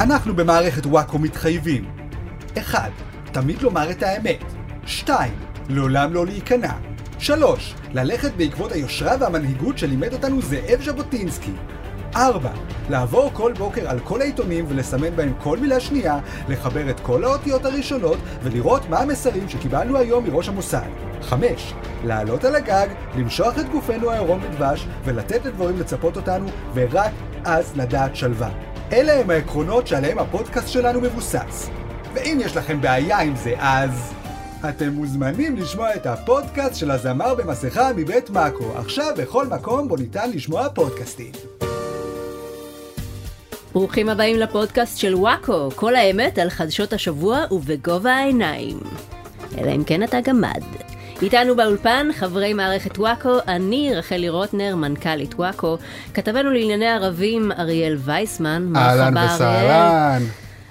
אנחנו במערכת וואקו מתחייבים 1. תמיד לומר את האמת 2. לעולם לא להיכנע 3. ללכת בעקבות היושרה והמנהיגות שלימד אותנו זאב ז'בוטינסקי 4. לעבור כל בוקר על כל העיתונים ולסמן בהם כל מילה שנייה, לחבר את כל האותיות הראשונות ולראות מה המסרים שקיבלנו היום מראש המוסד. 5. לעלות על הגג, למשוח את גופנו העירום בדבש ולתת לדברים לצפות אותנו ורק אז לדעת שלווה. אלה הם העקרונות שעליהם הפודקאסט שלנו מבוסס. ואם יש לכם בעיה עם זה אז... אתם מוזמנים לשמוע את הפודקאסט של הזמר במסכה מבית מאקו, עכשיו בכל מקום בו ניתן לשמוע פודקאסטים. ברוכים הבאים לפודקאסט של וואקו, כל האמת על חדשות השבוע ובגובה העיניים. אלא אם כן אתה גמד. איתנו באולפן חברי מערכת וואקו, אני רחלי רוטנר, מנכ"לית וואקו, כתבנו לענייני ערבים אריאל וייסמן, אהלן מרחבה, וסהלן.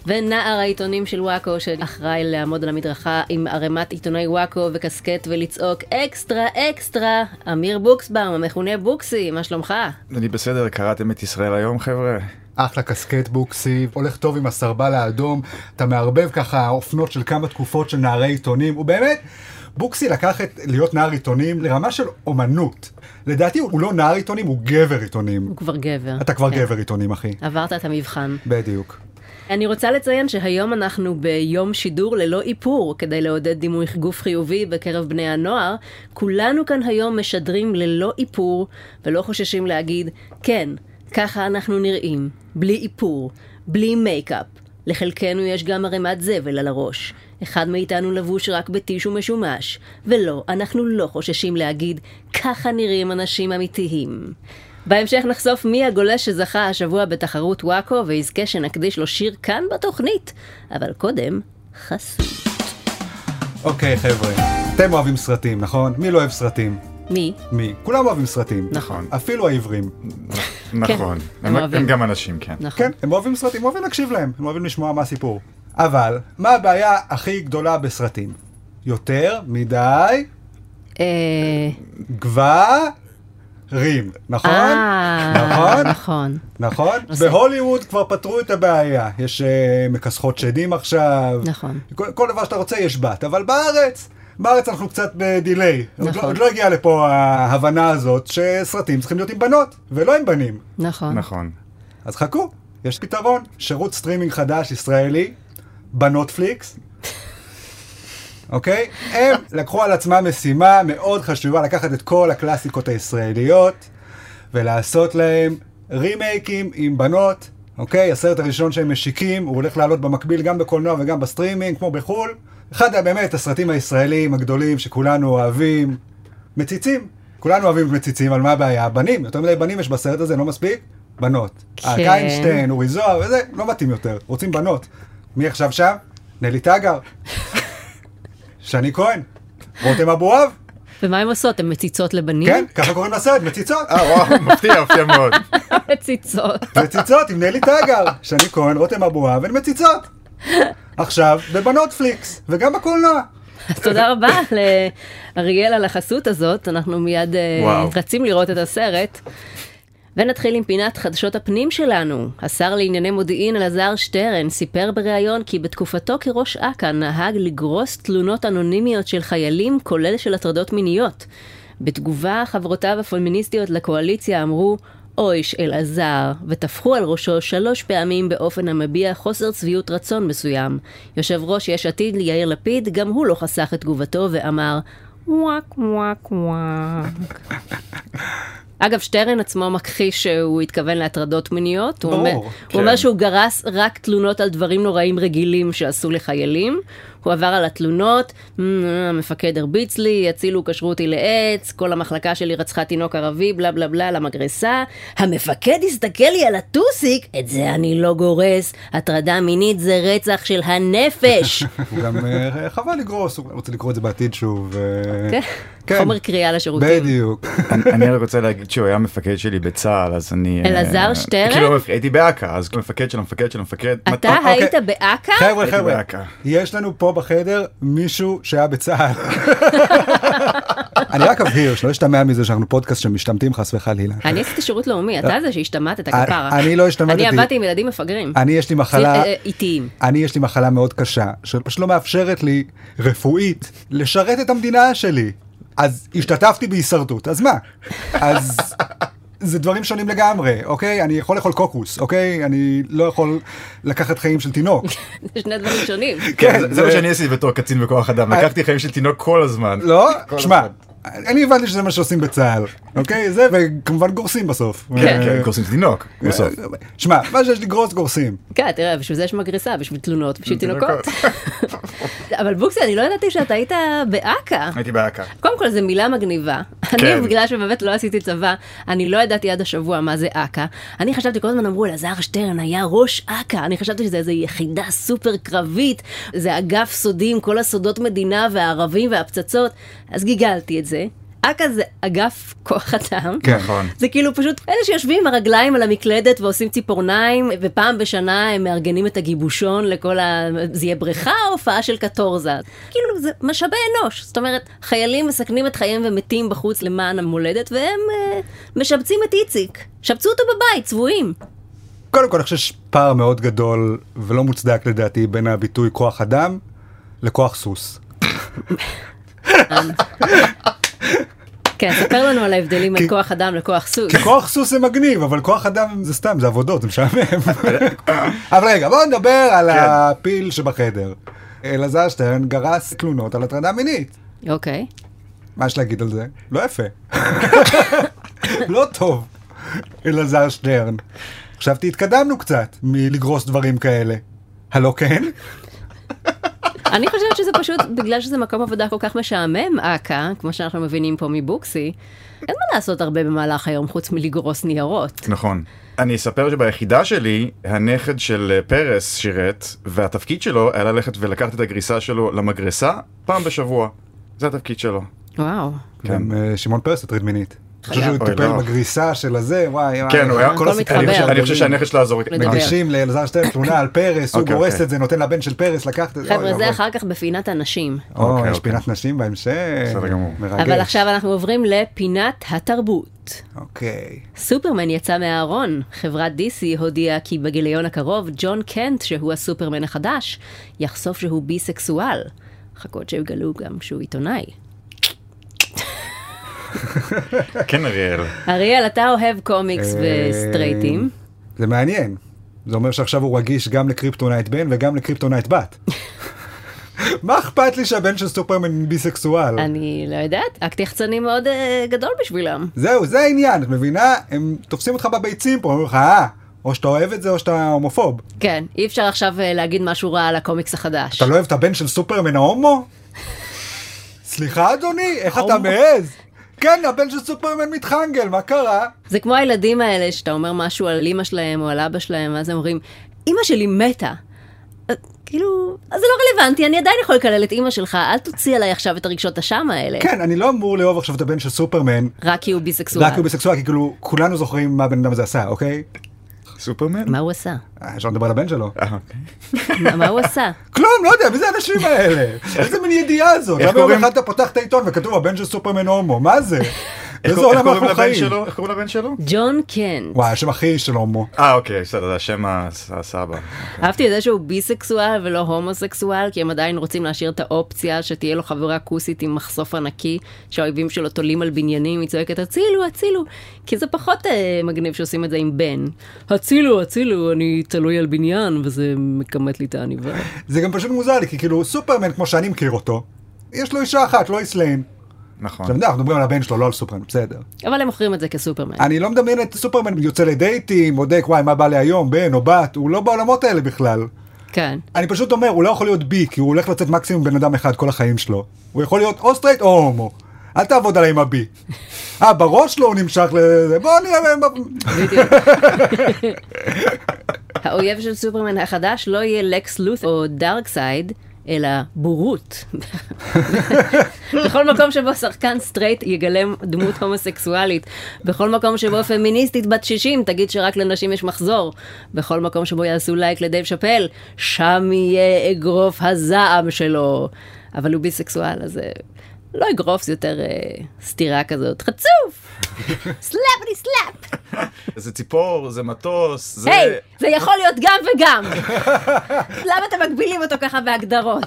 ונער העיתונים של וואקו, שאחראי לעמוד על המדרכה עם ערימת עיתונאי וואקו וקסקט ולצעוק אקסטרה אקסטרה, אמיר בוקסבאום, המכונה בוקסי, מה שלומך? אני בסדר, קראתם את ישראל היום חבר'ה? כן, אחלה קסקט בוקסי, הולך טוב עם הסרבל האדום, אתה מערבב ככה אופנות של כמה תקופות של נערי עיתונים, הוא באמת, בוקסי לקח את להיות נער עיתונים לרמה של אומנות. לדעתי הוא לא נער עיתונים, הוא גבר עיתונים. הוא כבר גבר. אתה כבר כן. גבר עיתונים, אחי. עברת את המבחן. בדיוק. אני רוצה לציין שהיום אנחנו ביום שידור ללא איפור, כדי לעודד דימוי גוף חיובי בקרב בני הנוער. כולנו כאן היום משדרים ללא איפור, ולא חוששים להגיד, כן, ככה אנחנו נראים, בלי איפור, בלי מייקאפ. לחלקנו יש גם ערימת זבל על הראש. אחד מאיתנו לבוש רק בטישו משומש. ולא, אנחנו לא חוששים להגיד, ככה נראים אנשים אמיתיים. בהמשך נחשוף מי הגולש שזכה השבוע בתחרות וואקו ויזכה שנקדיש לו שיר כאן בתוכנית. אבל קודם, חסות. אוקיי חבר'ה, אתם אוהבים סרטים, נכון? מי לא אוהב סרטים? מי? מי? כולם אוהבים סרטים. נכון. אפילו העברים. נכון. הם הם אוהבים. הם גם אנשים, כן. נכון. כן, הם אוהבים סרטים, הם אוהבים להקשיב להם, הם אוהבים לשמוע מה הסיפור. אבל, מה הבעיה הכי גדולה בסרטים? יותר מדי אה... גברים, נכון? אה, נכון? נכון. נכון? נושא. בהוליווד כבר פתרו את הבעיה. יש אה, מכסחות שדים עכשיו. נכון. כל, כל דבר שאתה רוצה יש בת, אבל בארץ, בארץ אנחנו קצת בדיליי. עוד, לא, נכון. עוד לא הגיעה לפה ההבנה הזאת שסרטים צריכים להיות עם בנות, ולא עם בנים. נכון. נכון. אז חכו, יש פתרון. שירות סטרימינג חדש ישראלי, בנוטפליקס. אוקיי? הם לקחו על עצמם משימה מאוד חשובה לקחת את כל הקלאסיקות הישראליות ולעשות להם רימייקים עם בנות, אוקיי? הסרט הראשון שהם משיקים, הוא הולך לעלות במקביל גם בקולנוע וגם בסטרימינג, כמו בחו"ל. אחד היה באמת הסרטים הישראלים הגדולים שכולנו אוהבים, מציצים. כולנו אוהבים מציצים, אבל מה הבעיה? בנים, יותר מדי בנים יש בסרט הזה, לא מספיק? בנות. כן. אה, קיינשטיין, אורי זוהר, וזה, לא מתאים יותר, רוצים בנות. מי עכשיו שם? נלי טגר. שני כהן. רותם אבואב. ומה הן עושות? הן מציצות לבנים? כן, ככה קוראים לסרט, מציצות. אה, וואו, מפתיע, מפתיע מאוד. מציצות. מציצות עם נלי טגר. שני כהן, רותם אבואב, הן מציצות. עכשיו, בבנוטפליקס, וגם בקולנוע. אז תודה רבה לאריאל על החסות הזאת, אנחנו מיד אה, וואו. רצים לראות את הסרט. ונתחיל עם פינת חדשות הפנים שלנו. השר לענייני מודיעין אלעזר שטרן סיפר בריאיון כי בתקופתו כראש אכ"א נהג לגרוס תלונות אנונימיות של חיילים, כולל של הטרדות מיניות. בתגובה, חברותיו הפמיניסטיות לקואליציה אמרו, אויש אלעזר, וטפחו על ראשו שלוש פעמים באופן המביע חוסר צביעות רצון מסוים. יושב ראש יש עתיד יאיר לפיד, גם הוא לא חסך את תגובתו ואמר, וואק וואק וואק. אגב, שטרן עצמו מכחיש שהוא התכוון להטרדות מיניות. הוא ברור, אומר, כן. הוא אומר שהוא גרס רק תלונות על דברים נוראים רגילים שעשו לחיילים. הוא עבר על התלונות, "מ, המפקד הרביץ לי, הצילו קשרו אותי לעץ, כל המחלקה שלי רצחה תינוק ערבי, בלה בלה בלה, למגרסה. המפקד הסתכל לי על הטוסיק, את זה אני לא גורס, הטרדה מינית זה רצח של הנפש. הוא גם אה, חבל לגרוס, הוא רוצה לקרוא את זה בעתיד שוב. אה, כן. אוקיי. חומר אה, קריאה לשירותים. בדיוק. אני- אני רק רוצה להגיד שהוא היה מפקד שלי בצה"ל, אז אני... אה, אלעזר שטרן? כאילו, הייתי באכ"א, אז כאילו, מפקד של המפקד של המפקד. אתה אוקיי. היית באכ"א? חבר'ה, הייתי חבר'ה, באכ"א. יש לנו פה בחדר מישהו שהיה בצה"ל. אני רק אבהיר, שלא ישתמע מזה שאנחנו פודקאסט שמשתמטים חס וחלילה. אני עשיתי שירות לאומי, אתה זה שהשתמטת כפרה. אה, אני לא השתמטתי. אני עבדתי עם ילדים מפגרים. אני יש לי מחלה, אה, אה, איטיים. אני יש לי מחלה מאוד קשה, שפשוט לא מאפשרת לי רפואית לשרת את המדינה שלי. אז השתתפתי בהישרדות, אז מה? אז זה דברים שונים לגמרי, אוקיי? אני יכול לאכול קוקוס, אוקיי? אני לא יכול לקחת חיים של תינוק. זה שני דברים שונים. כן, זה- זה- זה מה שאני עשיתי בתור קצין בכוח אדם, לקחתי חיים של תינוק כל הזמן. לא? כל שמע, הזמן. אני הבנתי שזה מה שעושים בצה"ל, אוקיי? זה, וכמובן גורסים בסוף. כן, אה, כן, קורסים של תינוק, בסוף. שמע, מה שיש לי גרוס גורסים. כן, תראה, בשביל זה יש מגריסה, בשביל תלונות, בשביל תינוקות. תינוקות. אבל בוקסי, אני לא ידעתי שאתה היית באכ"א. הייתי באכ"א. קודם קודם כל זו מילה מגניבה. כן. אני, בגלל שבאמת לא עשיתי צבא, אני לא ידעתי עד השבוע מה זה אכ"א. אני חשבתי, כל הזמן אמרו, אלעזר שטרן היה ראש אכ"א. אני חשבתי שזה איזו יחידה סופר קרבית, זה אגף סודי עם כל הסודות מדינה והערבים והפצצות. אז גיגלתי את זה. אכ"א זה אגף כוח אדם. כן. נכון. זה כאילו פשוט אלה שיושבים עם הרגליים על המקלדת ועושים ציפורניים, ופעם בשנה הם מארגנים את הגיבושון לכל ה... זה יהיה בריכה או הופעה של קטורזה. כאילו זה משאבי אנוש, זאת אומרת, חיילים מסכנים את חייהם ומתים בחוץ למען המולדת, והם אה, משבצים את איציק. שבצו אותו בבית, צבועים. קודם כל, אני חושב שיש פער מאוד גדול ולא מוצדק לדעתי בין הביטוי כוח אדם לכוח סוס. כן, ספר לנו על ההבדלים בין כי- כוח אדם לכוח סוס. כי כוח סוס זה מגניב, אבל כוח אדם זה סתם, זה עבודות, זה משעמם. אבל רגע, בואו נדבר על כן. הפיל שבחדר. אלעזר שטרן גרס תלונות על הטרדה מינית. אוקיי. מה יש להגיד על זה? לא יפה. לא טוב, אלעזר שטרן. חשבתי, התקדמנו קצת מלגרוס דברים כאלה. הלא כן? אני חושבת שזה פשוט בגלל שזה מקום עבודה כל כך משעמם, אכ"א, כמו שאנחנו מבינים פה מבוקסי, אין מה לעשות הרבה במהלך היום חוץ מלגרוס ניירות. נכון. אני אספר שביחידה שלי, הנכד של אה, פרס שירת, והתפקיד שלו היה ללכת ולקחת את הגריסה שלו למגרסה פעם בשבוע. זה התפקיד שלו. וואו. כן. גם אה, שמעון פרס הטריד מינית. אני חושב שהוא אוי, טיפל לא. בגריסה של הזה, וואי, וואי. כן, הוא היה... הכל הסיפורים אני מתחבר. חושב- של אני חושב המודיעין. שהנכד שלו יעזור. מדבר. מגישים לאלעזר שטרן תלונה על פרס, הוא אוקיי, גורס אוקיי. את זה, נותן לבן של פרס לקחת את זה. לא אוי, חבר'ה, זה אוי. אחר כך בפינת הנשים. או, אוקיי, יש אוקיי. פינת נשים בהמשך. בסדר גמור. מרגש. אבל עכשיו אנחנו עוברים לפינת התרבות. אוקיי. סופרמן יצא מהארון. חברת DC הודיעה כי בגיליון הקרוב, ג'ון קנט, שהוא הסופרמן החדש, יחשוף שהוא ביסקסואל. חכות שיגלו גם שהוא עיתונאי. כן, אריאל. אריאל, אתה אוהב קומיקס אה, וסטרייטים. זה מעניין. זה אומר שעכשיו הוא רגיש גם לקריפטונייט בן וגם לקריפטונייט בת. מה אכפת לי שהבן של סופרמן ביסקסואל? אני לא יודעת, אקט יחצני מאוד אה, גדול בשבילם. זהו, זה העניין, את מבינה? הם תופסים אותך בביצים פה, אומרים לך, אה, או שאתה אוהב את זה או שאתה הומופוב. כן, אי אפשר עכשיו אה, להגיד משהו רע על הקומיקס החדש. אתה לא אוהב את הבן של סופרמן ההומו? סליחה אדוני, איך אתה ההומו. מעז? כן, הבן של סופרמן מתחנגל, מה קרה? זה כמו הילדים האלה שאתה אומר משהו על אימא שלהם או על אבא שלהם, ואז הם אומרים, אימא שלי מתה. אה, כאילו, אז זה לא רלוונטי, אני עדיין יכול לקלל את אימא שלך, אל תוציא עליי עכשיו את הרגשות אשם האלה. כן, אני לא אמור לאהוב עכשיו את הבן של סופרמן, רק כי הוא ביסקסואל. רק כי הוא ביסקסואל, כי כאילו, כולנו זוכרים מה הבן אדם הזה עשה, אוקיי? סופרמן? מה הוא עשה? אה, אפשר לדבר על הבן שלו. אה, אוקיי. מה- מה הוא עשה? כלום, לא יודע, מי זה האנשים האלה? איזה מין ידיעה זאת? איך למה יום קוראים- אחד אתה פותח את העיתון וכתוב הבן של סופרמן הומו? מה זה? איך איזה קוראים עולם אנחנו לבן חיים? שלו? איך קוראים לבן שלו? ג'ון קנט. וואי, השם הכי של הומו. אה, אוקיי, בסדר, זה השם הס- הסבא. אהבתי את זה שהוא ביסקסואל ולא הומוסקסואל, כי הם עדיין רוצים להשאיר את האופציה שתהיה לו חברה כוסית עם מחשוף ענקי, שהאויבים שלו תולים על בניינים, היא צועקת, הצילו, הצילו. כי זה פחות אה, מגניב שעושים את זה עם בן. הצילו, הצילו, אני תלוי על בניין, וזה מכמת לי את העניבה. זה גם פשוט מוזר לי, כי כאילו, סופרמן, כמו שאני מכיר אותו, יש לו אישה אחת, לואיס ליין. נכון. עכשיו, אנחנו מדברים על הבן שלו, לא על סופרמן, בסדר. אבל הם מוכרים את זה כסופרמן. אני לא מדמיין את סופרמן יוצא לדייטים, בודק, וואי, מה בא לי היום, בן או בת, הוא לא בעולמות האלה בכלל. כן. אני פשוט אומר, הוא לא יכול להיות בי, כי הוא הולך לצאת מקסימום בן אדם אחד כל החיים שלו. הוא יכול להיות או סטרייט או הומו. אל תעבוד עליי עם הבי. אה, בראש שלו הוא נמשך לזה, בוא נראה... בדיוק. האויב של סופרמן החדש לא יהיה לקס לות' או דארקסייד, אלא בורות. בכל מקום שבו שחקן סטרייט יגלם דמות הומוסקסואלית, בכל מקום שבו פמיניסטית בת 60 תגיד שרק לנשים יש מחזור, בכל מקום שבו יעשו לייק לדייב שאפל, שם יהיה אגרוף הזעם שלו. אבל הוא ביסקסואל, אז אה, לא אגרוף זה יותר אה, סתירה כזאת, חצוף! סלאפני סלאפ! זה ציפור, זה מטוס, זה... היי, זה יכול להיות גם וגם! למה אתם מגבילים אותו ככה בהגדרות?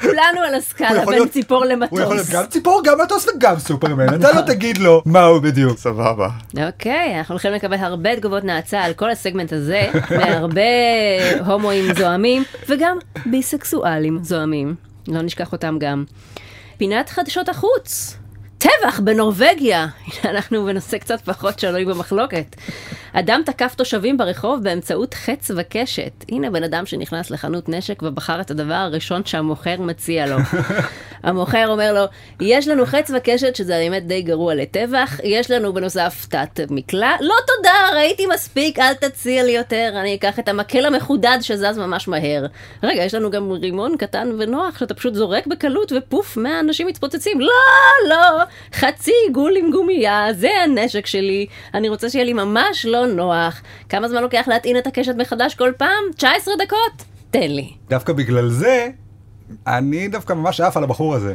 כולנו על הוא הסקאלה יכול בין להיות- ציפור הוא יכול להיות למטוס. גם ציפור, גם מטוס וגם סופרמן, אתה לא תגיד לו מה הוא בדיוק. סבבה. אוקיי, אנחנו הולכים לקבל הרבה תגובות נאצה על כל הסגמנט הזה, מהרבה הומואים זוהמים, וגם ביסקסואלים זוהמים. לא נשכח אותם גם. פינת חדשות החוץ. טבח בנורבגיה! הנה, אנחנו בנושא קצת פחות שנוי במחלוקת. אדם תקף תושבים ברחוב באמצעות חץ וקשת. הנה בן אדם שנכנס לחנות נשק ובחר את הדבר הראשון שהמוכר מציע לו. המוכר אומר לו, יש לנו חץ וקשת, שזה האמת די גרוע לטבח, יש לנו בנוסף תת מקלע, לא תודה, ראיתי מספיק, אל תציע לי יותר, אני אקח את המקל המחודד שזז ממש מהר. רגע, יש לנו גם רימון קטן ונוח, שאתה פשוט זורק בקלות, ופוף, 100 אנשים מתפוצצים. לא, לא, חצי עיגול עם גומייה, זה הנשק שלי, אני רוצה שיהיה לי ממש לא נוח. כמה זמן לוקח להטעין את הקשת מחדש כל פעם? 19 דקות? תן לי. דווקא בגלל זה, אני דווקא ממש עף על הבחור הזה.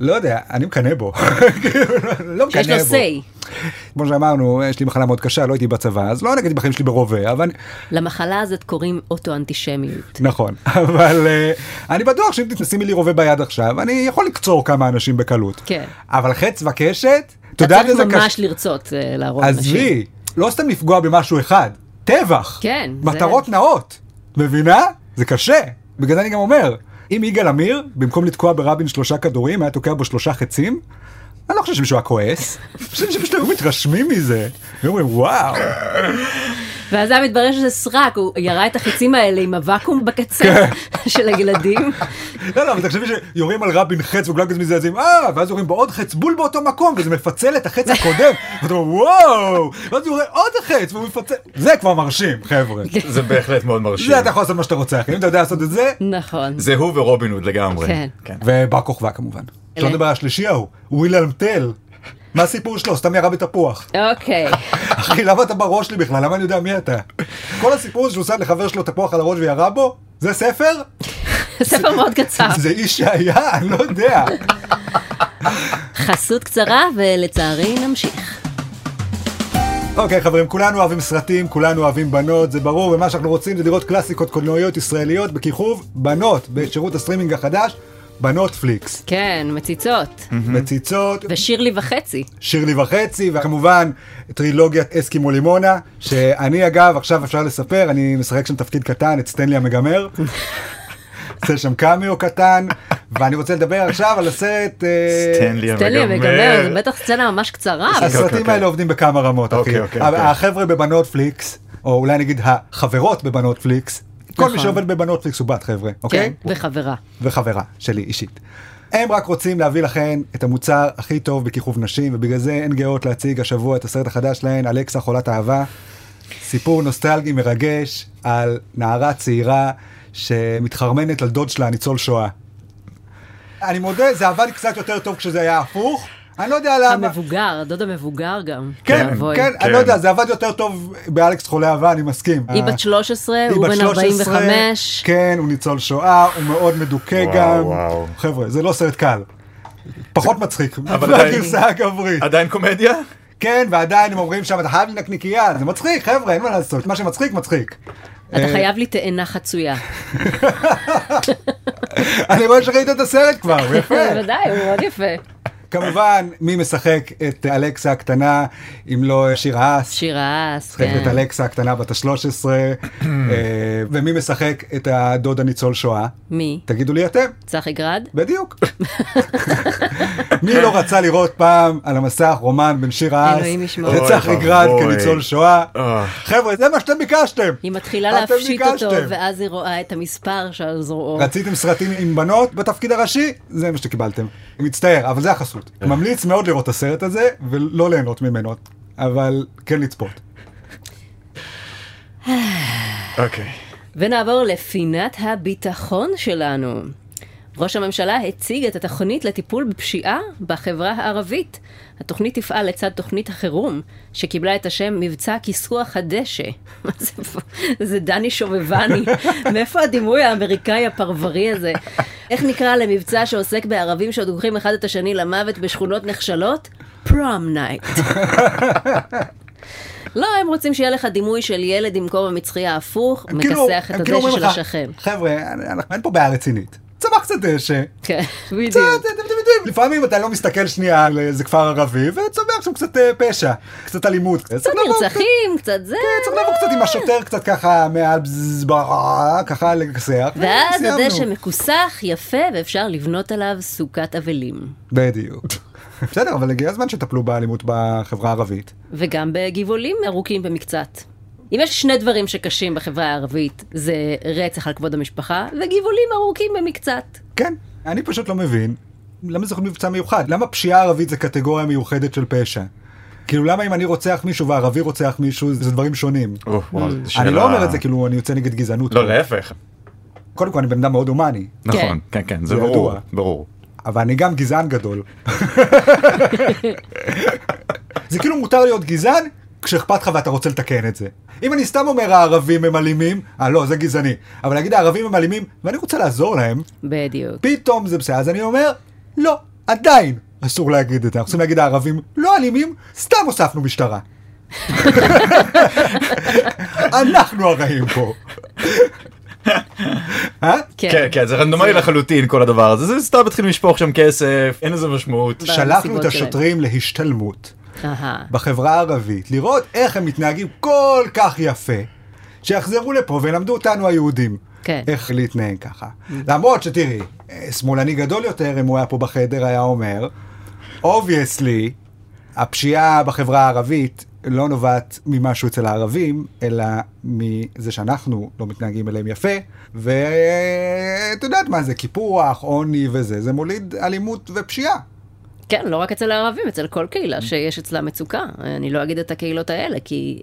לא יודע, אני מקנא בו. כאילו, לא מקנא בו. שיש לו say. כמו שאמרנו, יש לי מחלה מאוד קשה, לא הייתי בצבא, אז לא נגעתי בחיים שלי ברובה, אבל... למחלה הזאת קוראים אוטו-אנטישמיות. נכון, אבל אה, אני בטוח שאם תשימי לי רובה ביד עכשיו, אני יכול לקצור כמה אנשים בקלות. כן. אבל חץ וקשת, אתה אתה יודעת איזה צריך קש... ממש לרצות אה, להרוג נשים. עזבי, לא סתם לפגוע במשהו אחד, טבח. כן, זה- מטרות נאות. מבינה? זה קשה. בגלל זה אני גם אומר, אם יגאל עמיר, במקום לתקוע ברבין שלושה כדורים, היה תוקע בו שלושה חצים, אני לא חושב שמישהו היה כועס. אני חושב שפשוט היו מתרשמים מזה. היו אומרים, וואו. ואז היה מתברר שזה סרק, הוא ירה את החיצים האלה עם הוואקום בקצה כן. של הילדים. לא, לא, אבל תחשבי שיורים על רבין חץ וכולם כזה מזדעזעים, אה, ואז יורים בו עוד חץ בול באותו מקום, וזה מפצל את החץ הקודם. ואתה אומר, וואו. ואז יורה עוד חץ והוא מפצל. זה כבר מרשים, חבר'ה. זה בהחלט מאוד מרשים. זה אתה יכול לעשות מה שאתה רוצה, אחי. אם אתה יודע לעשות את זה, נכון. זה הוא ורובין הוד לגמרי. כן. ובר כוכבא כמובן. שלא נדבר על השלישי ההוא, ווילהלם טל. מה הסיפור שלו? סתם ירה בתפוח. אוקיי. אחי, למה אתה בראש שלי בכלל? למה אני יודע מי אתה? כל הסיפור הזה שהוא שם לחבר שלו תפוח על הראש וירה בו? זה ספר? ספר מאוד קצר. זה איש שהיה? אני לא יודע. חסות קצרה, ולצערי נמשיך. אוקיי חברים, כולנו אוהבים סרטים, כולנו אוהבים בנות, זה ברור, ומה שאנחנו רוצים זה לראות קלאסיקות קולנועיות ישראליות בכיכוב בנות בשירות הסטרימינג החדש, בנות פליקס. כן, מציצות. Mm-hmm. מציצות, ושירלי וחצי. שירלי וחצי, וכמובן טרילוגיית אסקימו לימונה, שאני אגב, עכשיו אפשר לספר, אני משחק שם תפקיד קטן, את סטנלי המגמר. עושה שם קאמיו קטן, ואני רוצה לדבר עכשיו על הסרט... אה, סטנלי תן לי המגמר. מגמר, זו בטח סצנה ממש קצרה. אבל- אוקיי, הסרטים אוקיי. האלה עובדים בכמה רמות, אחי. אוקיי, אוקיי, ה- אוקיי. החבר'ה בבנות פליקס, או אולי נגיד החברות בבנות פליקס, כל נכון. מי שעובד בבנות פליקס הוא בת חבר'ה, כן, אוקיי? וחברה. וחברה שלי אישית. הם רק רוצים להביא לכן את המוצר הכי טוב בכיכוב נשים, ובגלל זה הן גאות להציג השבוע את הסרט החדש שלהן, אלכסה חולת אהבה. סיפור נוסטלגי מרגש על נערה צעירה שמתחרמנת על דוד שלה, ניצול שואה. אני מודה, זה עבד קצת יותר טוב כשזה היה הפוך. אני לא יודע למה. המבוגר, הדוד המבוגר גם. כן, אבוי. כן, כן. אני לא יודע, זה עבד יותר טוב באלכס חולה אהבה, אני מסכים. היא בת 13, היא הוא בת בן 13, 45. כן, הוא ניצול שואה, הוא מאוד מדוכא וואו, גם. וואו. חבר'ה, זה לא סרט קל. פחות מצחיק, אבל עדיין- מהגרסה הגברית. עדיין קומדיה? כן, ועדיין הם אומרים שם, אתה חייב לי נקניקייה, זה מצחיק, חבר'ה, אין מה לעשות, מה שמצחיק, מצחיק. כן. אתה חייב לי תאנה חצויה. אני רואה שראית את הסרט כבר, יפה. בוודאי, הוא מאוד יפה. כמובן, מי משחק את אלכסה הקטנה, אם לא שיר האס? שירה אס, משחקת את כן. אלכסה הקטנה בת ה-13, אה, ומי משחק את הדוד הניצול שואה? מי? תגידו לי אתם, צחי גרד? בדיוק. מי לא רצה לראות פעם על המסך רומן בין שיר האס אלוהים ישמור. אוי וצחי גרד ואבוי. כניצול שואה? אה. חבר'ה, זה מה שאתם ביקשתם. היא מתחילה אתם להפשיט אותו, ביקשתם. ואז היא רואה את המספר שעל זרועו. רציתם סרטים עם בנות בתפקיד הראשי? זה מה שקיבלתם. מצטער, אבל זה החסות. אה. ממליץ מאוד לראות את הסרט הזה ולא ליהנות ממנו, אבל כן לצפות. אוקיי. ונעבור לפינת הביטחון שלנו. ראש הממשלה הציג את התוכנית לטיפול בפשיעה בחברה הערבית. התוכנית תפעל לצד תוכנית החירום, שקיבלה את השם מבצע כיסוח הדשא. מה זה- זה דני שובבני, מאיפה הדימוי האמריקאי הפרברי הזה? איך נקרא למבצע שעוסק בערבים שדוקחים אחד את השני למוות בשכונות נחשלות? פרום נייט. לא, הם רוצים שיהיה לך דימוי של ילד עם כובע מצחי ההפוך, הם כאילו- מכסח את הם כאילו הדשא אומרים של לך, השכן. חבר'ה, אנחנו- אין פה בעיה רצינית. צמח קצת אה, דשא. כן, קצת, בדיוק. אתם יודעים, לפעמים אתה לא מסתכל שנייה על איזה כפר ערבי, וצומח שם קצת אה, פשע, קצת אלימות. קצת נרצחים, קצת זה. לא כן, צריך לבוא קצת עם השוטר קצת ככה מעל בזז, ברע, ככה לכסח. ואז וסיימנו. הדשא מכוסח, יפה, ואפשר לבנות עליו סוכת אבלים. בדיוק. בסדר, אבל הגיע הזמן שטפלו באלימות בחברה הערבית. וגם בגבעולים ארוכים במקצת. אם יש שני דברים שקשים בחברה הערבית, זה רצח על כבוד המשפחה, וגבעולים ארוכים במקצת. כן, אני פשוט לא מבין. למה זה יכול להיות מבצע מיוחד? למה פשיעה ערבית זה קטגוריה מיוחדת של פשע? כאילו למה אם אני רוצח מישהו וערבי רוצח מישהו זה דברים שונים? אוף, וואו, זו שאלה- אני לא אומר את זה כאילו אני יוצא נגד גזענות. לא, להפך. קודם כל אני בן אדם מאוד הומני, נכון, כן, כן, זה זה ברור, ידוע. ברור. אבל אני גם גזען גדול. זה כאילו מותר להיות גזען כשאכפת לך ואתה רוצה לתקן את זה. אם אני סתם אומר הערבים הם אלימים, אה לא זה גזעני, אבל להגיד הערבים הם אלימים ואני רוצה לעזור להם, בדיוק. פתאום זה בסדר, אז אני אומר, לא, עדיין אסור להגיד את זה, אנחנו צריכים להגיד הערבים לא אלימים, סתם הוספנו משטרה. אנחנו הרעים פה. אה? כן, כן, זה רנדומלי לחלוטין כל הדבר הזה, זה סתם התחיל לשפוך שם כסף, אין לזה משמעות. שלחנו בנסיבות את השוטרים להשתלמות אהה. בחברה הערבית, לראות איך הם מתנהגים כל כך יפה, שיחזרו לפה וילמדו אותנו היהודים. כן. איך להתנהג ככה. למרות שתראי, אה, שמאלני גדול יותר, אם הוא היה פה בחדר, היה אומר, אובייסלי, הפשיעה בחברה הערבית לא נובעת ממשהו אצל הערבים, אלא מזה שאנחנו לא מתנהגים אליהם יפה, ואת יודעת מה זה, קיפוח, עוני וזה, זה מוליד אלימות ופשיעה. כן, לא רק אצל הערבים, אצל כל קהילה שיש אצלה מצוקה. אני לא אגיד את הקהילות האלה, כי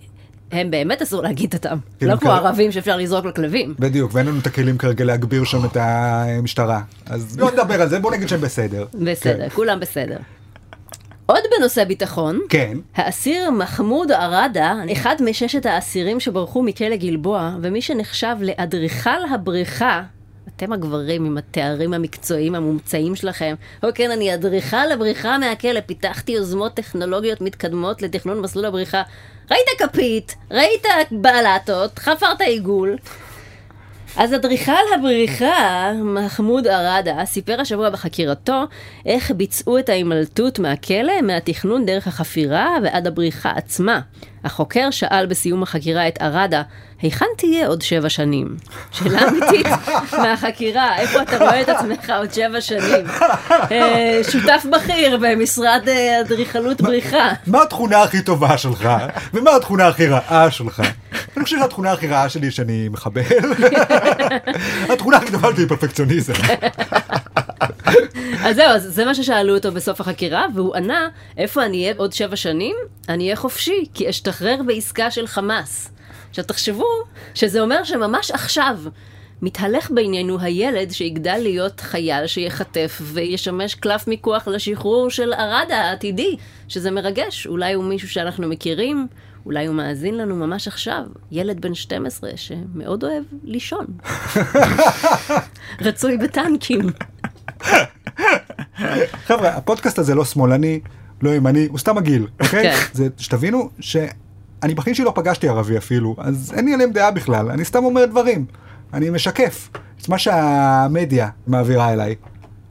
הם באמת אסור להגיד אותם. כאילו, לא כמו כן. הערבים שאפשר לזרוק לכלבים. בדיוק, ואין לנו את הכלים כרגע להגביר שם את המשטרה. אז לא נדבר על זה, בוא נגיד שהם בסדר. בסדר, כולם בסדר. עוד בנושא ביטחון, כן. האסיר מחמוד עראדה, אחד מששת האסירים שברחו מכלא גלבוע, ומי שנחשב לאדריכל הבריכה, אתם הגברים עם התארים המקצועיים המומצאים שלכם, או כן, אני אדריכל הבריכה מהכלא, פיתחתי יוזמות טכנולוגיות מתקדמות לתכנון מסלול הבריכה. ראית כפית, ראית בלטות, חפרת עיגול. אז אדריכל הבריחה, מחמוד עראדה, סיפר השבוע בחקירתו איך ביצעו את ההימלטות מהכלא, מהתכנון דרך החפירה ועד הבריחה עצמה. החוקר שאל בסיום החקירה את עראדה, היכן תהיה עוד שבע שנים? שאלה אמיתית מהחקירה, איפה אתה רואה את עצמך עוד שבע שנים? אה, שותף בכיר במשרד אה, אדריכלות בריחה. מה התכונה הכי טובה שלך, ומה התכונה הכי רעה שלך? אני חושב שהתכונה הכי רעה שלי היא שאני מחבל. התכונה הכי טובה שלי היא פרפקציוניזם. אז זהו, אז זה מה ששאלו אותו בסוף החקירה, והוא ענה, איפה אני אהיה עוד שבע שנים? אני אהיה חופשי, כי אשתחרר בעסקה של חמאס. עכשיו תחשבו שזה אומר שממש עכשיו מתהלך בינינו הילד שיגדל להיות חייל שיחטף וישמש קלף מיקוח לשחרור של עראדה העתידי, שזה מרגש. אולי הוא מישהו שאנחנו מכירים, אולי הוא מאזין לנו ממש עכשיו. ילד בן 12 שמאוד אוהב לישון. רצוי בטנקים. חבר'ה, הפודקאסט הזה לא שמאלני, לא ימני, הוא סתם מגעיל, אוקיי? כן. זה שתבינו שאני בחיים שלי לא פגשתי ערבי אפילו, אז אין לי עליהם דעה בכלל, אני סתם אומר דברים. אני משקף את מה שהמדיה מעבירה אליי.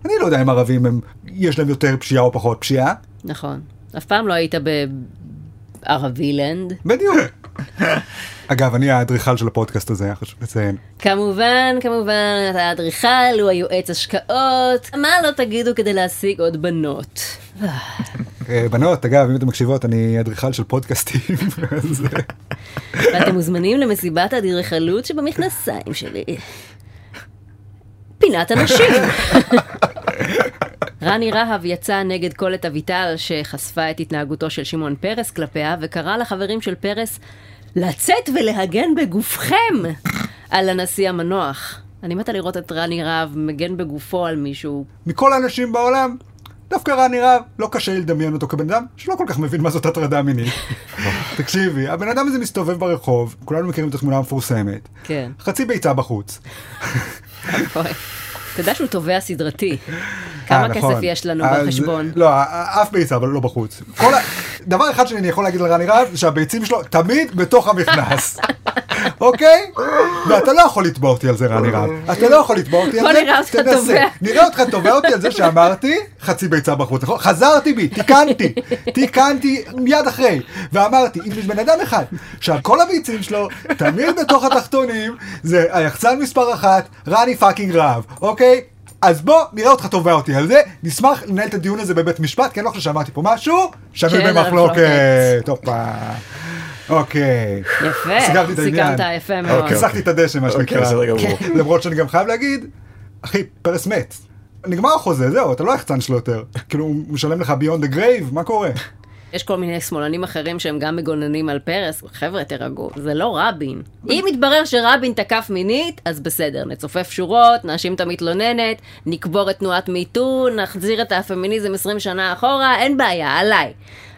אני לא יודע אם ערבים הם, יש להם יותר פשיעה או פחות פשיעה, נכון. אף פעם לא היית בערבילנד. בדיוק. אגב, אני האדריכל של הפודקאסט הזה, היה חשוב לציין. כמובן, כמובן, אתה האדריכל, הוא היועץ השקעות, מה לא תגידו כדי להשיג עוד בנות? אה, בנות, אגב, אם אתן מקשיבות, אני אדריכל של פודקאסטים. אז, אה, ואתם מוזמנים למסיבת האדריכלות שבמכנסיים שלי. פינת הנשים. רני רהב יצא נגד קולט אביטל שחשפה את התנהגותו של שמעון פרס כלפיה וקרא לחברים של פרס לצאת ולהגן בגופכם על הנשיא המנוח. אני מתה לראות את רני רהב מגן בגופו על מישהו. מכל האנשים בעולם, דווקא רני רהב, לא קשה לי לדמיין אותו כבן אדם שלא כל כך מבין מה זאת הטרדה מינית. תקשיבי, הבן אדם הזה מסתובב ברחוב, כן. כולנו מכירים את התמונה המפורסמת. כן. חצי ביצה בחוץ. אתה יודע שהוא תובע סדרתי. כמה אה, נכון. כסף יש לנו אז- בחשבון? לא, אה, אף ביצה, אבל לא בחוץ. כל ה- דבר אחד שאני יכול להגיד על רני רהב, זה שהביצים שלו תמיד בתוך המכנס. אוקיי? ואתה לא יכול לתבע אותי על זה, רני רהב. אתה לא יכול לתבע אותי על בוא זה, נראה אותך תנסה. תובע. נראה אותך תובע אותי על זה שאמרתי, חצי ביצה בחוץ. נכון? חזרתי בי, תיקנתי. תיקנתי מיד אחרי. ואמרתי, אם יש בן אדם אחד, שכל הביצים שלו תמיד בתוך התחתונים, זה היחצן מספר אחת, רני פאקינג רהב, אוקיי? אז בוא, נראה אותך תובע אותי על זה, נשמח לנהל את הדיון הזה בבית משפט, כי אני לא חושב שאמרתי פה משהו, שאין שנוי עליו במחלוקת. הופה. אוקיי. יפה, סיכמתי את העניין. אה, סיכמת יפה מאוד. אוקיי, כיסחתי את הדשא, מה אוקיי, שנקרא. כן. בסדר גמור. למרות שאני גם חייב להגיד, אחי, פרס מת. נגמר החוזה, זהו, אתה לא יחצן שלו יותר. כאילו, הוא משלם לך ביונד הגרייב, מה קורה? יש כל מיני שמאלנים אחרים שהם גם מגוננים על פרס. חבר'ה, תירגעו, זה לא רבין. אם יתברר שרבין תקף מינית, אז בסדר, נצופף שורות, נאשים את המתלוננת, נקבור את תנועת מיטו, נחזיר את הפמיניזם 20 שנה אחורה, אין בעיה, עליי.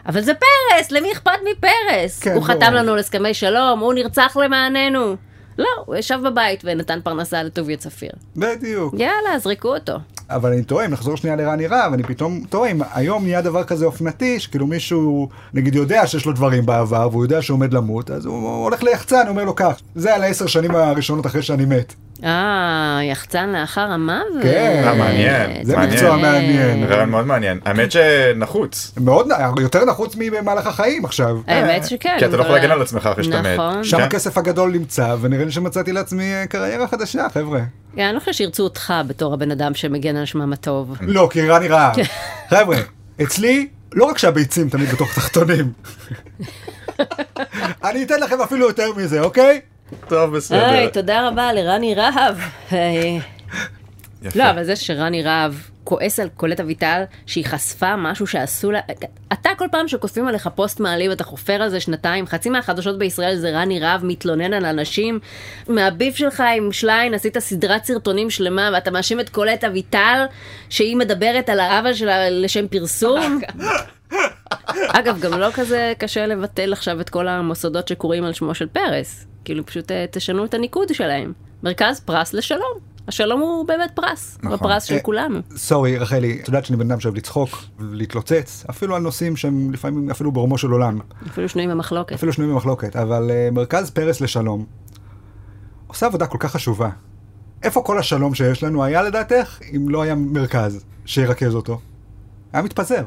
אבל זה פרס, למי אכפת מפרס? כן, הוא ברור. חתם לנו על הסכמי שלום, הוא נרצח למעננו. לא, הוא ישב בבית ונתן פרנסה לטוביה צפיר. בדיוק. יאללה, זרקו אותו. אבל אני טועה, אם נחזור שנייה לרני רהב, אני פתאום טועה, אם היום נהיה דבר כזה אופנתי, שכאילו מישהו, נגיד, יודע שיש לו דברים בעבר, והוא יודע שהוא עומד למות, אז הוא הולך ליחצן, אומר לו כך, זה על העשר שנים הראשונות אחרי שאני מת. אה, יחצן לאחר המוות. כן. אה, מעניין, זה מעניין. מקצוע מעניין. רעיון מאוד מעניין. האמת שנחוץ. מאוד, נ- יותר נחוץ ממהלך החיים עכשיו. האמת שכן. כי אתה לא יכול אבל- להגן על עצמך אחרי שאתה מת. נכון. שם כן. הכסף הגדול נמצא, ונראה לי שמצאתי לעצמי אה, קריירה חדשה, חבר'ה. כן, אני לא חושבת שירצו אותך בתור הבן אדם שמגן על שמם הטוב. לא, כי רני רהב. חבר'ה, אצלי, לא רק שהביצים תמיד בתוך תחתונים. אני אתן לכם אפילו יותר מזה, אוקיי? טוב, בסדר. היי, תודה רבה לרני רהב. היי. יפה. לא, אבל זה שרני רהב כועס על קולט אביטל שהיא חשפה משהו שעשו לה... אתה כל פעם שכותבים עליך פוסט מעליב אתה חופר על זה שנתיים, חצי מהחדשות בישראל זה רני רהב מתלונן על אנשים. מהביף שלך עם שליין עשית סדרת סרטונים שלמה ואתה מאשים את קולט אביטל שהיא מדברת על העוול שלה לשם פרסום. אגב, גם לא כזה קשה לבטל עכשיו את כל המוסדות שקוראים על שמו של פרס. כאילו, פשוט אה, תשנו את הניקוד שלהם. מרכז פרס לשלום. השלום הוא באמת פרס. נכון. נכון. הפרס של אה, כולנו. סורי, רחלי, את יודעת שאני בן אדם שאוהב לצחוק ולהתלוצץ, אפילו על נושאים שהם לפעמים אפילו ברומו של עולם, אפילו שנויים במחלוקת. אפילו שנויים במחלוקת, אבל אה, מרכז פרס לשלום עושה עבודה כל כך חשובה. איפה כל השלום שיש לנו היה לדעתך, אם לא היה מרכז שירכז אותו? היה מתפזר.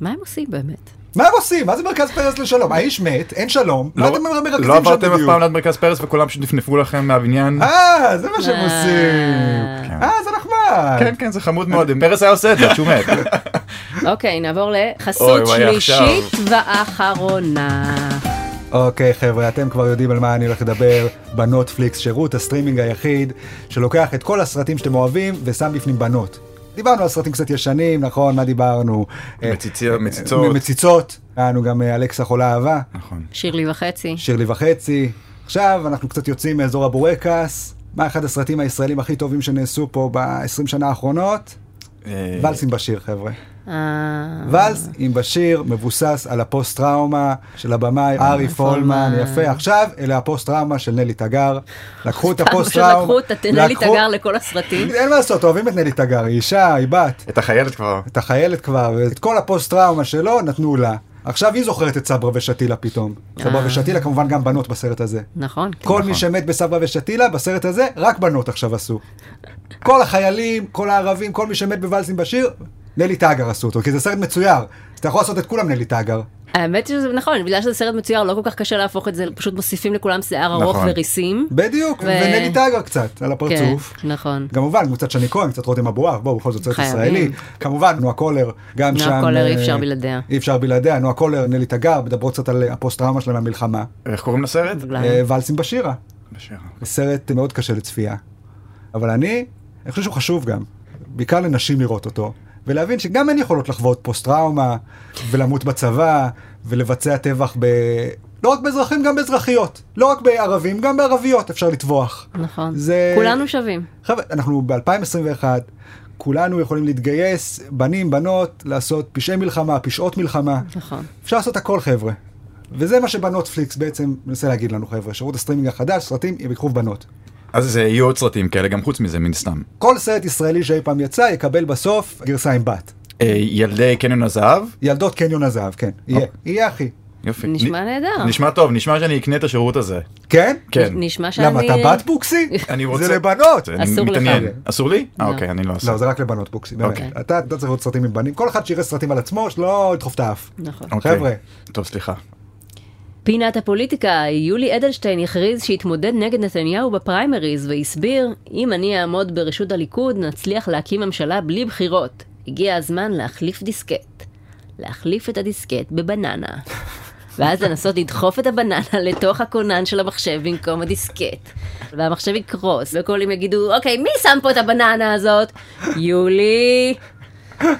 מה הם עושים באמת? מה הם עושים? מה זה מרכז פרס לשלום? האיש מת, אין שלום, מה לא- אתם מרכזים שם בדיוק? לא עברתם אף פעם ליד מרכז פרס וכולם שנפנפו לכם מהבניין? אה, זה מה שהם אה. עושים. כן. אה, זה נחמד. כן, כן, זה חמוד מאוד. אם פרס היה עושה את זה, שהוא מת. אוקיי, נעבור אוי, לחסות וואי, שלישית ואחרונה. אוקיי חבר'ה, אתם כבר יודעים על מה אני הולך לדבר, בנוטפליקס, שירות הסטרימינג היחיד שלוקח את כל הסרטים שאתם אוהבים ושם בפנים בנות. דיברנו על סרטים קצת ישנים, נכון? מה דיברנו? אה, מציצי- אה, מציצות. מציצות. היה לנו גם אה, אלכסה חולה אהבה, נכון. שירלי וחצי. שירלי וחצי. עכשיו אנחנו קצת יוצאים מאזור הבורקס. מה אחד הסרטים הישראלים הכי טובים שנעשו פה ב-20 שנה האחרונות? אה, ואלס עם בשיר, חבר'ה. אה, ואלס עם בשיר מבוסס על הפוסט-טראומה של הבמאי ארי פולמן, אה, פולמן. יפה. עכשיו, אלה הפוסט-טראומה של נלי תגר. לקחו את פעם הפוסט-טראומה. שלקחו את נלי לקחו- תגר לכל הסרטים. אין מה לעשות, אוהבים את נלי תגר, היא אישה, היא בת, את החיילת כבר. את החיילת כבר, את כל הפוסט-טראומה שלו נתנו לה. עכשיו היא זוכרת את סברה ושתילה פתאום. סברה אה. ושתילה כמובן גם בנות בסרט הזה. נכון. כל מי שמת בסברה ושתילה, בסרט הזה, רק בנות עכשיו עשו. כל החיילים, כל הערבים, כל מי שמת בוואלסים בשיר, נלי טאגר עשו אותו, כי זה סרט מצויר. אז אתה יכול לעשות את כולם נלי טאגר. האמת שזה נכון, בגלל שזה סרט מצויר, לא כל כך קשה להפוך את זה, פשוט מוסיפים לכולם שיער ארוך נכון. וריסים. בדיוק, ו- ונלי טאגר קצת, על הפרצוף. כן, נכון. כמובן, קצת שני כהן, קצת רותם אבואב, בואו, בכל זאת סרט חייבים. ישראלי. כמובן, נועה קולר, גם נועה שם... קולר, אי אה, לא אפשר בלעדיה. אי אפשר בלעדיה, נועה קולר, נלי תגר, מדברות קצת על הפוסט-טראומה שלהם מהמלחמה. איך קוראים לסרט? בגלל- אה, ואלסים בשירה. בשיר. סרט מאוד קשה לצפייה. אבל אני, אני חושב שהוא חשוב גם, בעיקר לנשים לראות אותו, ולהבין שגם הן יכולות לחוות פוסט-טראומה, ולמות בצבא, ולבצע טבח ב... לא רק באזרחים, גם באזרחיות. לא רק בערבים, גם בערביות אפשר לטבוח. נכון. זה- כולנו שווים. חבר'ה, אנחנו ב-2021, כולנו יכולים להתגייס, בנים, בנות, לעשות פשעי מלחמה, פשעות מלחמה. נכון. אפשר לעשות הכל, חבר'ה. וזה מה שבנות פליקס בעצם מנסה להגיד לנו, חבר'ה. שירות הסטרימינג החדש, סרטים, ייקחו בנות. אז זה יהיו עוד סרטים כאלה, גם חוץ מזה, מן סתם. כל סרט ישראלי שאי פעם יצא יקבל בסוף גרסה עם בת. אה, ילדי קניון הזהב? ילדות קניון הזהב, כן. יהיה, יהיה אחי. יופי. נשמע נ- נהדר. נשמע טוב, נשמע שאני אקנה את השירות הזה. כן? כן. נשמע שאני... למה, אתה בת בוקסי? אני רוצה... כן. זה לבנות. אני אסור לך. מתעניין. אסור לי? אה, לא. אוקיי, אני לא אעשה. לא, זה רק לבנות בוקסי, אוקיי. באמת. אתה אתה צריך לראות סרטים עם בנים. כל אחד שיראה סרטים על עצמו, שלא ידחוף את האף. נכון. אוקיי. חבר'ה. טוב, סליחה. פינת הפוליטיקה, יולי אדלשטיין הכריז שהתמודד נגד נתניהו בפריימריז והסביר, אם אני אעמוד בראשות הליכוד, נצליח להקים ממשלה בלי בחירות. הגיע הזמן להחליף דיסקט. להחליף את הדיסקט בבננה. ואז לנסות לדחוף את הבננה לתוך הכונן של המחשב במקום הדיסקט. והמחשב יקרוס, וכולם יגידו, אוקיי, מי שם פה את הבננה הזאת? יולי.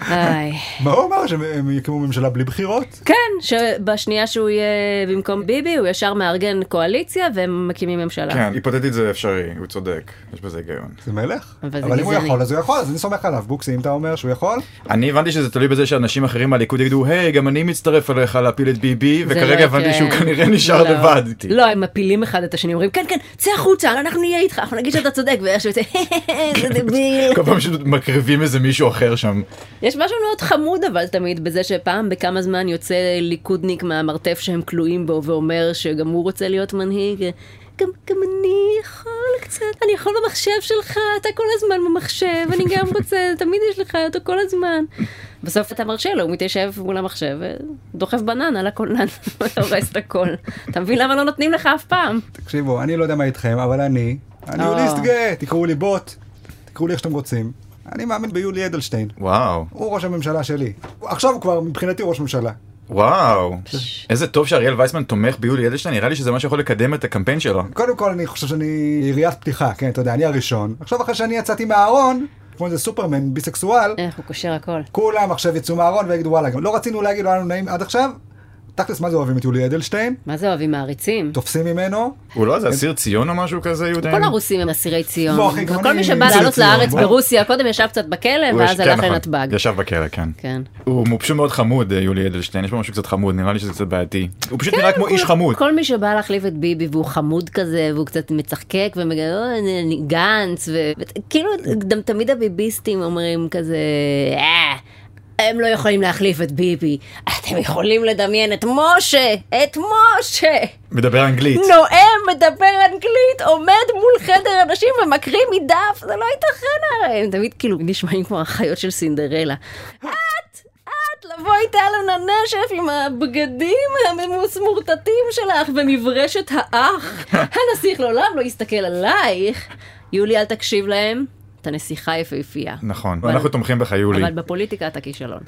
איי. מה הוא אמר, שהם הם יקימו ממשלה בלי בחירות? כן, שבשנייה שהוא יהיה במקום ביבי, הוא ישר מארגן קואליציה והם מקימים ממשלה. כן, היפותטית זה אפשרי, הוא צודק, יש בזה היגיון. זה מלך. אבל זה אבל אם הוא גזעני. יכול, אז הוא יכול, אז אני סומך עליו. בוקסי, אם אתה אומר שהוא יכול, אני הבנתי שזה תלוי בזה שאנשים אחרים מהליכוד יגידו, היי, גם אני מצטרף אליך להפיל את ביבי, זה וכרגע לא הבנתי יקרה. שהוא כנראה נשאר לא. לבד. לא, הם מפילים אחד את השני, אומרים, כן, כן, צא החוצה, אנחנו נהיה איתך, אנחנו נגיד שאתה צודק, ואיך שהוא יוצא, זה דביל. כל פעם שמקריבים איזה מישהו אחר שם. יש משהו מאוד חמוד אבל תמיד בזה שפעם בכמה זמן יוצא ליכודניק מהמרתף שהם כלואים בו ואומר שגם הוא רוצה להיות מנהיג. גם, גם אני יכול קצת, אני יכול במחשב שלך, אתה כל הזמן במחשב, אני גם רוצה, תמיד יש לך אותו כל הזמן. בסוף אתה מרשה לו, הוא מתיישב מול המחשב, דוחף בננה לקולנן, לא הורס את הכל. אתה מבין למה לא נותנים לך אף פעם? תקשיבו, אני לא יודע מה איתכם, אבל אני, אני אה. יוליסט גאה, תקראו לי בוט, תקראו לי איך שאתם רוצים. אני מאמין ביולי אדלשטיין. וואו, הוא ראש הממשלה שלי. עכשיו הוא כבר מבחינתי ראש ממשלה. וואו. איזה טוב שאריאל וייסמן תומך ביולי אדלשטיין, נראה לי שזה מה שיכול לקדם את הקמפיין שלו. קודם כל אני חושב שאני יריית פתיחה, כן, אתה יודע, אני הראשון. עכשיו אחרי שאני יצאתי מהארון, כמו איזה סופרמן ביסקסואל, איך אה, הוא קושר הכל. כולם עכשיו יצאו מהארון ויגידו וואלה, גם לא רצינו להגיד, לא היה לנו נעים עד עכשיו. תכלס, מה זה אוהבים את יולי אדלשטיין? מה זה אוהבים מעריצים? תופסים ממנו, הוא לא איזה אסיר ציון או משהו כזה, יהודה? כל הרוסים הם אסירי ציון. לא, אחי, גם כל אני מי שבא אסיר לעלות ציון, לארץ בוא. ברוסיה, קודם ישב קצת בכלא, הוא יש- ואז כן, הלך נכון. לנתב"ג. ישב בכלא, כן. כן. הוא הוא פשוט מאוד חמוד, אה, יולי אדלשטיין, יש פה משהו קצת חמוד, נראה לי שזה קצת בעייתי. כן, הוא לא- פשוט נראה כמו איש חמוד. כל מי שבא להחליף את ביבי והוא חמוד כזה והוא קצת מצחקק "אה, וגנץ וכאילו כאילו, גם תמיד הביביסטים אומרים כזה "אה, הם לא יכולים להחליף את ביבי אתם יכולים לדמיין את משה את משה מדבר אנגלית. נואם מדבר אנגלית עומד מול חדר אנשים ומקריא מדף זה לא ייתכן הרי הם תמיד כאילו נשמעים כמו החיות של סינדרלה את לבוא איתה על הנשף עם הבגדים הממוסמורטטים שלך ומברשת האח. הנסיך לעולם לא יסתכל עלייך. יולי, אל תקשיב להם, אתה נסיכה יפהפייה. נכון, אבל- אנחנו תומכים בך יולי. אבל בפוליטיקה אתה כישלון.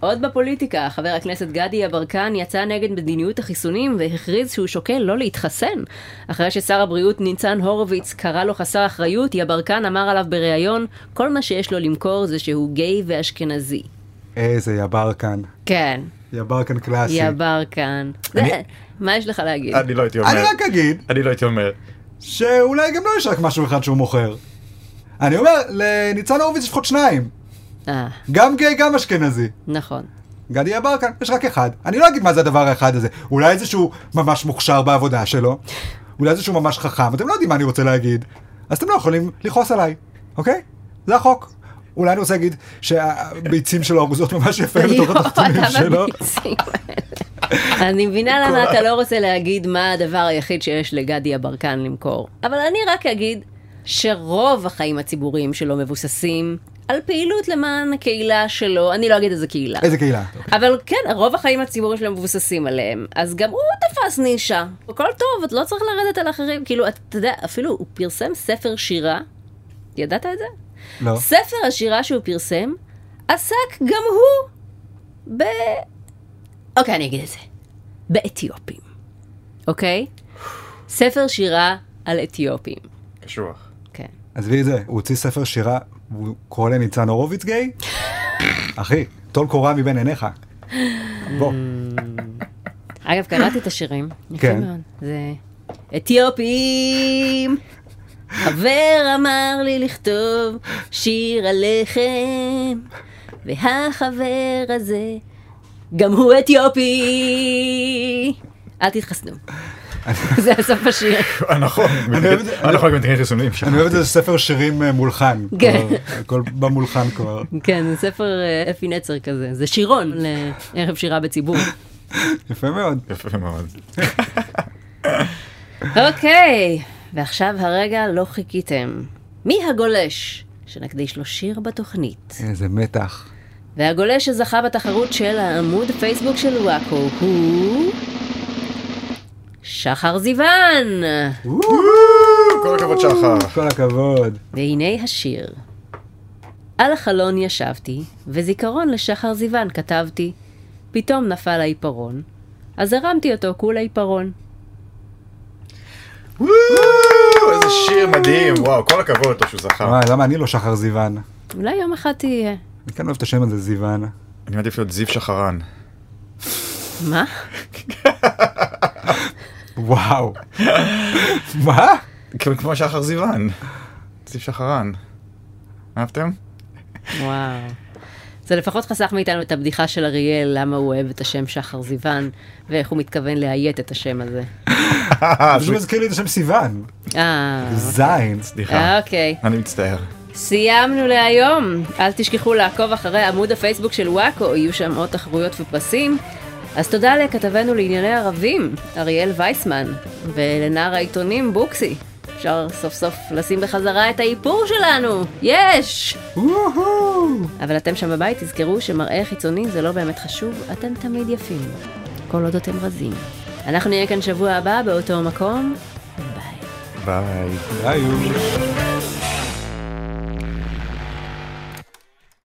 עוד בפוליטיקה, חבר הכנסת גדי יברקן יצא נגד מדיניות החיסונים והכריז שהוא שוקל לא להתחסן. אחרי ששר הבריאות ניצן הורוביץ קרא לו חסר אחריות, יברקן אמר עליו בריאיון, כל מה שיש לו למכור זה שהוא גיי ואשכנזי. איזה יברקן. כן, יברקן קלאסי. יברקן. זה- אני- מה יש לך להגיד? אני לא הייתי אומר. אני רק אגיד אני לא הייתי אומר. שאולי גם לו יש רק משהו אחד שהוא מוכר. אני אומר, לניצן הורוביץ יש לפחות שניים. אה, גם גיי, גם אשכנזי. נכון. גדי יברקן, יש רק אחד. אני לא אגיד מה זה הדבר האחד הזה. אולי זה שהוא ממש מוכשר בעבודה שלו, אולי זה שהוא ממש חכם, אתם לא יודעים מה אני רוצה להגיד. אז אתם לא יכולים לכעוס עליי, אוקיי? זה החוק. אולי אני רוצה להגיד שהביצים שלו ארוזות ממש יפה בתוך יואו, התחתונים אתה שלו. מהביצים האלה. אני מבינה למה אתה לא רוצה להגיד מה הדבר היחיד שיש לגדי יברקן למכור. אבל אני רק אגיד שרוב החיים הציבוריים שלו מבוססים על פעילות למען הקהילה שלו, אני לא אגיד איזה קהילה. איזה קהילה. אבל כן, רוב החיים הציבוריים שלהם מבוססים עליהם, אז גם הוא תפס נישה. הכל טוב, את לא צריך לרדת על אחרים. כאילו, אתה יודע, אפילו הוא פרסם ספר שירה, ידעת את זה? לא. ספר השירה שהוא פרסם עסק גם הוא ב... אוקיי, אני אגיד את זה. באתיופים, אוקיי? ספר שירה על אתיופים. קשוח. כן. עזבי את זה, הוא הוציא ספר שירה, הוא קורא לניצן הורוביץ גיי? אחי, טול קורה מבין עיניך. בוא. אגב, קראתי את השירים. יפה כן. מאוד. זה... אתיופים! חבר אמר לי לכתוב שיר עליכם, והחבר הזה גם הוא אתיופי! אל תתחסנו. זה הסוף השיר. נכון, אני אוהב את זה. אנחנו רק מתקנים חיסונים. אני אוהב את זה ספר שירים אה, מולחן. כן. כבר, הכל במולחן כבר. כן, זה ספר אה, אפי נצר כזה. זה שירון לערב שירה בציבור. יפה מאוד. יפה מאוד. אוקיי, ועכשיו הרגע לא חיכיתם. מי הגולש? שנקדיש לו שיר בתוכנית. איזה מתח. והגולש שזכה בתחרות של העמוד פייסבוק של וואקו הוא... שחר זיוון! כל הכבוד שחר. כל הכבוד. והנה השיר. על החלון ישבתי, וזיכרון לשחר זיוון כתבתי. פתאום נפל העיפרון, אז הרמתי אותו כול העיפרון. וואו, איזה שיר מדהים, וואו, כל הכבוד לו שהוא זכה. וואי, למה אני לא שחר זיוון? אולי יום אחד תהיה. אני כן אוהב את השם הזה, זיוון. אני מעדיף להיות זיו שחרן. מה? וואו. מה? כאילו כמו שחר זיוון. זיו שחרן. אהבתם? וואו. זה לפחות חסך מאיתנו את הבדיחה של אריאל, למה הוא אוהב את השם שחר זיוון, ואיך הוא מתכוון לאיית את השם הזה. זה מזכיר לי את השם סיוון. אה, זין. סליחה. אה, אוקיי. אני מצטער. סיימנו להיום. אל תשכחו לעקוב אחרי עמוד הפייסבוק של וואקו, יהיו שם עוד תחרויות ופסים. אז תודה לכתבנו לענייני ערבים, אריאל וייסמן, ולנער העיתונים בוקסי. אפשר סוף סוף לשים בחזרה את האיפור שלנו! יש! וואו. אבל אתם שם בבית תזכרו שמראה חיצוני זה לא באמת חשוב, אתם תמיד יפים. כל עוד אתם רזים. אנחנו נהיה כאן שבוע הבא באותו מקום. ביי. ביי. די, יו.